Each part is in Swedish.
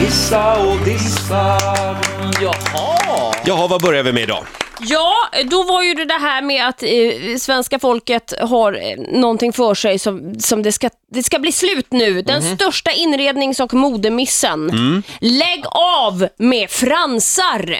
Gissa och dissa. Jaha! Jaha, vad börjar vi med idag? Ja, då var ju det det här med att eh, svenska folket har eh, någonting för sig som, som det, ska, det ska bli slut nu. Den Mhm. största inrednings och modemissen. Mm. Lägg av med fransar!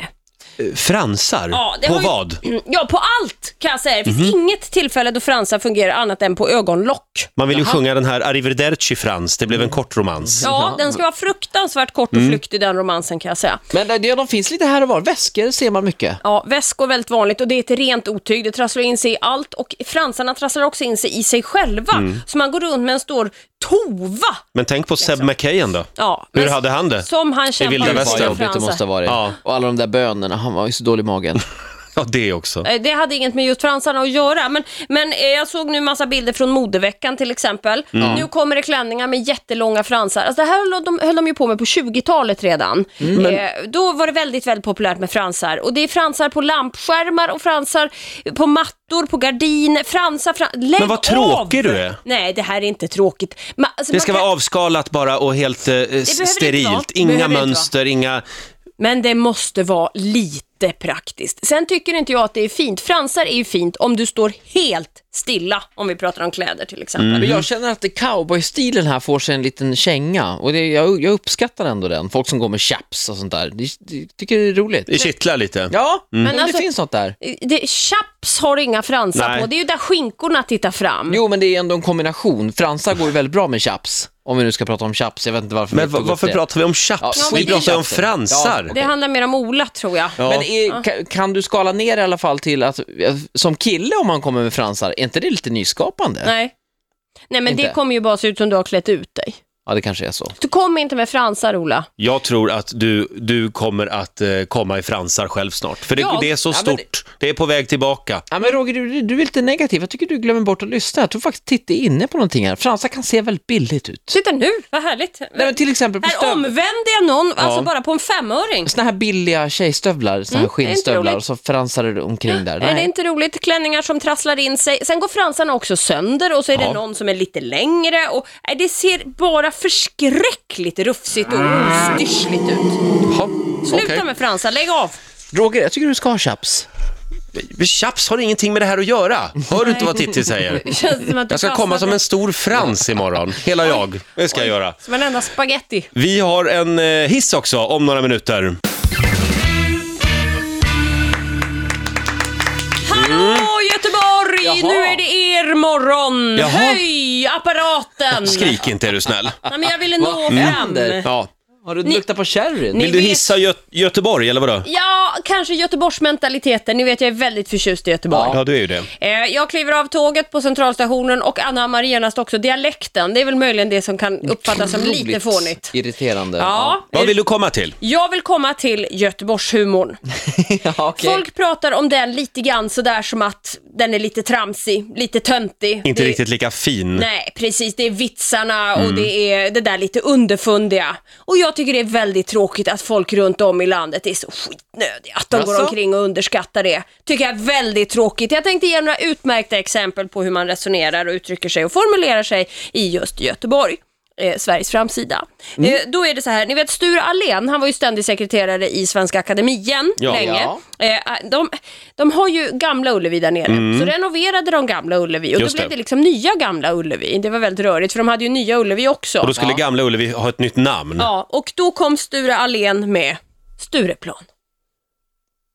Eh, Fransar? Ja, det På har ju- Mm, vad? Mhm. Ja, på allt kan jag säga. Det finns inget tillfälle då fransar fungerar annat än på ögonlock. Man vill ju sjunga den här Arrivederci Frans, det blev en kort romans. Mm. Ja, den ska vara fruktansvärt kort Mm. och flyktig den romansen kan jag säga. Men det, de finns lite här och var. Väskor ser man mycket. Ja, väskor är väldigt vanligt och det är ett rent otyg. Det trasslar in sig i allt och fransarna trasslar också in sig i sig själva. Mm. Så man går runt med en stor tova. Men tänk på Seb McKayen då. Ja, Hur men hade han det? Som han kämpar vilda med Gud, vad västern. sina jobbigt det fransar. måste ha varit. Ja. Mm. Och alla de där bönorna, han var ju så dålig i magen. Ja, det också. Eh, Det hade inget med just fransarna att göra, men, men eh, jag såg nu massa bilder från modeveckan till exempel. Mm. Nu kommer det klänningar med jättelånga fransar. Alltså, det här höll de, höll de ju på med på 20-talet redan. Mm. Eh, då var det väldigt, väldigt populärt med fransar. Och det är fransar på lampskärmar och fransar på mattor, på gardiner, fransar, fran- Lägg Men vad tråkig av! du är. Nej, det här är inte tråkigt. Man, alltså, Det man ska kan- vara avskalat bara och helt eh, inte s- vara. sterilt. Det behöver Inga inte vara. mönster, inga... Men det måste vara lite praktiskt. Sen tycker inte jag att det är fint. Fransar är ju fint om du står helt stilla, om vi pratar om kläder till exempel. Men jag känner att det cowboystilen här får sig en liten känga. Och det, jag, jag uppskattar ändå den. Folk som går med chaps och sånt där. Det, det, tycker det är roligt. Det kittlar lite. Ja, men Men alltså- det finns något där. Det, chaps har inga fransar Nej. på. Det är ju där skinkorna tittar fram. Jo, men det är ändå en kombination. Fransar går ju väldigt bra med chaps. Om vi nu ska prata om chaps. Jag vet inte varför Men vi tog va- upp varför det. pratar vi om chaps? Ja, vi skit i pratar om chapsen. fransar. Ja, Det handlar mer om Ola, tror jag. Ja. Men är, kan, kan du skala ner i alla fall till att, eh, som kille om man kommer med fransar, är inte det lite nyskapande? Nej. Nej, men Inte. det kommer ju bara se ut som du har klätt ut dig. Ja, det kanske är så. Du kommer inte med fransar, Ola. Jag tror att du, du kommer att eh, komma i fransar själv snart. För det, Ja, det är så ja, men det- stort. Det är på väg tillbaka. Ja, men Roger, du, du är lite negativ. Jag tycker du glömmer bort att lyssna. Jag tror faktiskt Titti är inne på någonting här. Fransar kan se väldigt billigt ut. Titta nu, vad härligt. Nej, men till exempel på här stöv... omvände jag någon, alltså bara på en femöring. Såna här billiga tjejstövlar, såna här Mm, det är inte skinnstövlar roligt. och så fransar det omkring där. Är det Nej. inte roligt? Klänningar som trasslar in sig. Sen går fransarna också sönder och så är det Ja. någon som är lite längre. Och, nej, det ser bara förskräckligt rufsigt och ostyrsligt ut. Jaha, Sluta Mm. okej. med fransar, lägg av! Roger, jag tycker du ska ha chaps. Men Chaps har ingenting med det här att göra. Hör du inte vad Titti säger? Det känns som att du Jag ska komma fastnade. som en stor frans imorgon. Hela jag. Det ska jag göra. Som en enda spaghetti. Vi har en eh, hiss också om några minuter. Mm. Hallå Göteborg! Jaha. Nu är det er morgon! Jaha. Höj apparaten! Skrik inte är du snäll. Nej, men jag ville nå Mm. fram. händer? Ja. Har du luktat på sherryn? Ni- Vill du vet- hissa Gö- Göteborg eller vadå? Ja, kanske Göteborgsmentaliteten. Ni vet, jag är väldigt förtjust i Göteborg. Ja, du är ju det. Eh, Jag kliver av tåget på centralstationen och anammar genast också dialekten. Det är väl möjligen det som kan uppfattas som lite Otroligt fånigt. Irriterande. Ja. Vad vill du komma till? Jag vill komma till Göteborgshumorn. ja okej. Folk pratar om den lite grann sådär som att den är lite tramsig, lite töntig. Inte Det- riktigt lika fin. Nej, precis. Det är vitsarna Mm. och det är det där lite underfundiga. Och jag tycker det är väldigt tråkigt att folk runt om i landet är så skitnödiga. Att de går Jaså? omkring och underskattar det. Tycker jag är väldigt tråkigt. Jag tänkte ge några utmärkta exempel på hur man resonerar och uttrycker sig och formulerar sig i just Göteborg. Eh, Sveriges framsida. Mm. Eh, då är det så här, ni vet Sture Allén, han var ju ständig sekreterare i Svenska Akademien Ja. länge. Ja. Eh, de, de har ju Gamla Ullevi där nere, så renoverade de Gamla Ullevi och Mm. Just då blev det. det liksom nya Gamla Ullevi. Det var väldigt rörigt för de hade ju Nya Ullevi också. Och då skulle Gamla Ullevi ha ett nytt namn. Ja, och då kom Sture Allén med Stureplan.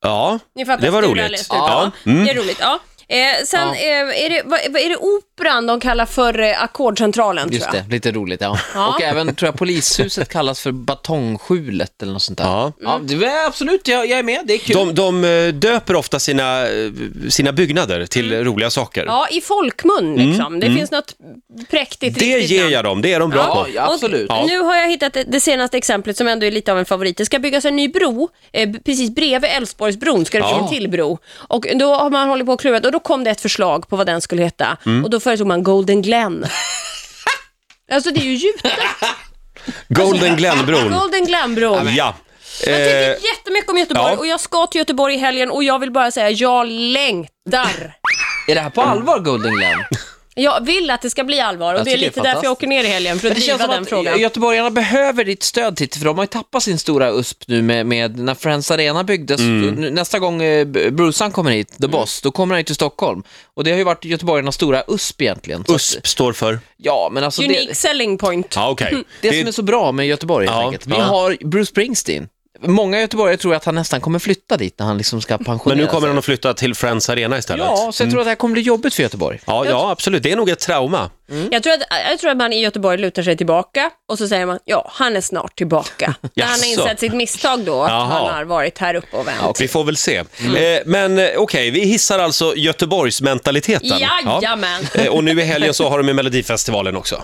Ja, Ni fattar, det var Sture Allén, roligt. Stureplan. Ja. Mm. Det är roligt, ja. Eh, sen Eh, är, det, vad, vad är det operan de kallar för eh, Ackordcentralen tror Just jag. det, lite roligt ja. Ja. Och även tror jag polishuset kallas för batongskjulet eller något sånt där. Ja. ja det, är- absolut, jag, jag är med, det är kul. De, de eh, döper ofta sina, eh, sina byggnader till roliga saker. Ja, i folkmun liksom. det finns något präktigt Mm. Det riktigt ger namn. jag dem, det är Alltså, de bra på. Ja, ja, absolut. Och Nu har jag hittat det- det senaste exemplet som ändå är lite av en favorit. Det ska byggas en ny bro, eh, b- precis bredvid Älvsborgsbron ska det bli Ja. en till bro. Och då har man hållit på och klurat och då kom det ett förslag på vad den skulle heta. Mm. Och då föreslog man Golden Glen. alltså det är ju gjutet. Golden Glenbron. Golden Glen-bron. Ja. Jag Eh, tycker jättemycket om Göteborg ja. och jag ska till Göteborg i helgen och jag vill bara säga, jag längtar. Är det här på allvar Golden Glen? Jag vill att det ska bli allvar och Jag det är tycker det är lite därför jag åker ner i helgen, för att Det känns driva som den att frågan. göteborgarna behöver ditt stöd Titti, för de har ju tappat sin stora USP nu med, med när Friends Arena byggdes. Mm. Nu- Nästa gång eh, B- Brucean kommer hit, Mm. The Boss, då kommer han ju till Stockholm. Och det har ju varit göteborgarnas stora USP egentligen. Så att, USP står för? ja, men alltså det, Unique selling point. Ja, okej. det, Det- som är så bra med Göteborg helt Ja, enkelt. Vi ja. har Bruce Springsteen. Många göteborgare tror att han nästan kommer flytta dit när han liksom ska pensionera Men nu kommer sig. han att flytta till Friends Arena istället. Ja, så jag tror att det här kommer bli jobbigt för Göteborg. Ja, ja, absolut. Det är nog ett trauma. Jag, tror att, jag tror att man i Göteborg lutar sig tillbaka och så säger man, ja, han är snart tillbaka. När han har Jaså. insett sitt misstag då, att Jaha. han har varit här uppe och vänt. Vi får väl se. Eh, men eh, okej, vi hissar alltså Göteborgsmentaliteten. Jajamän. Eh, Och nu i helgen så har de ju Melodifestivalen också.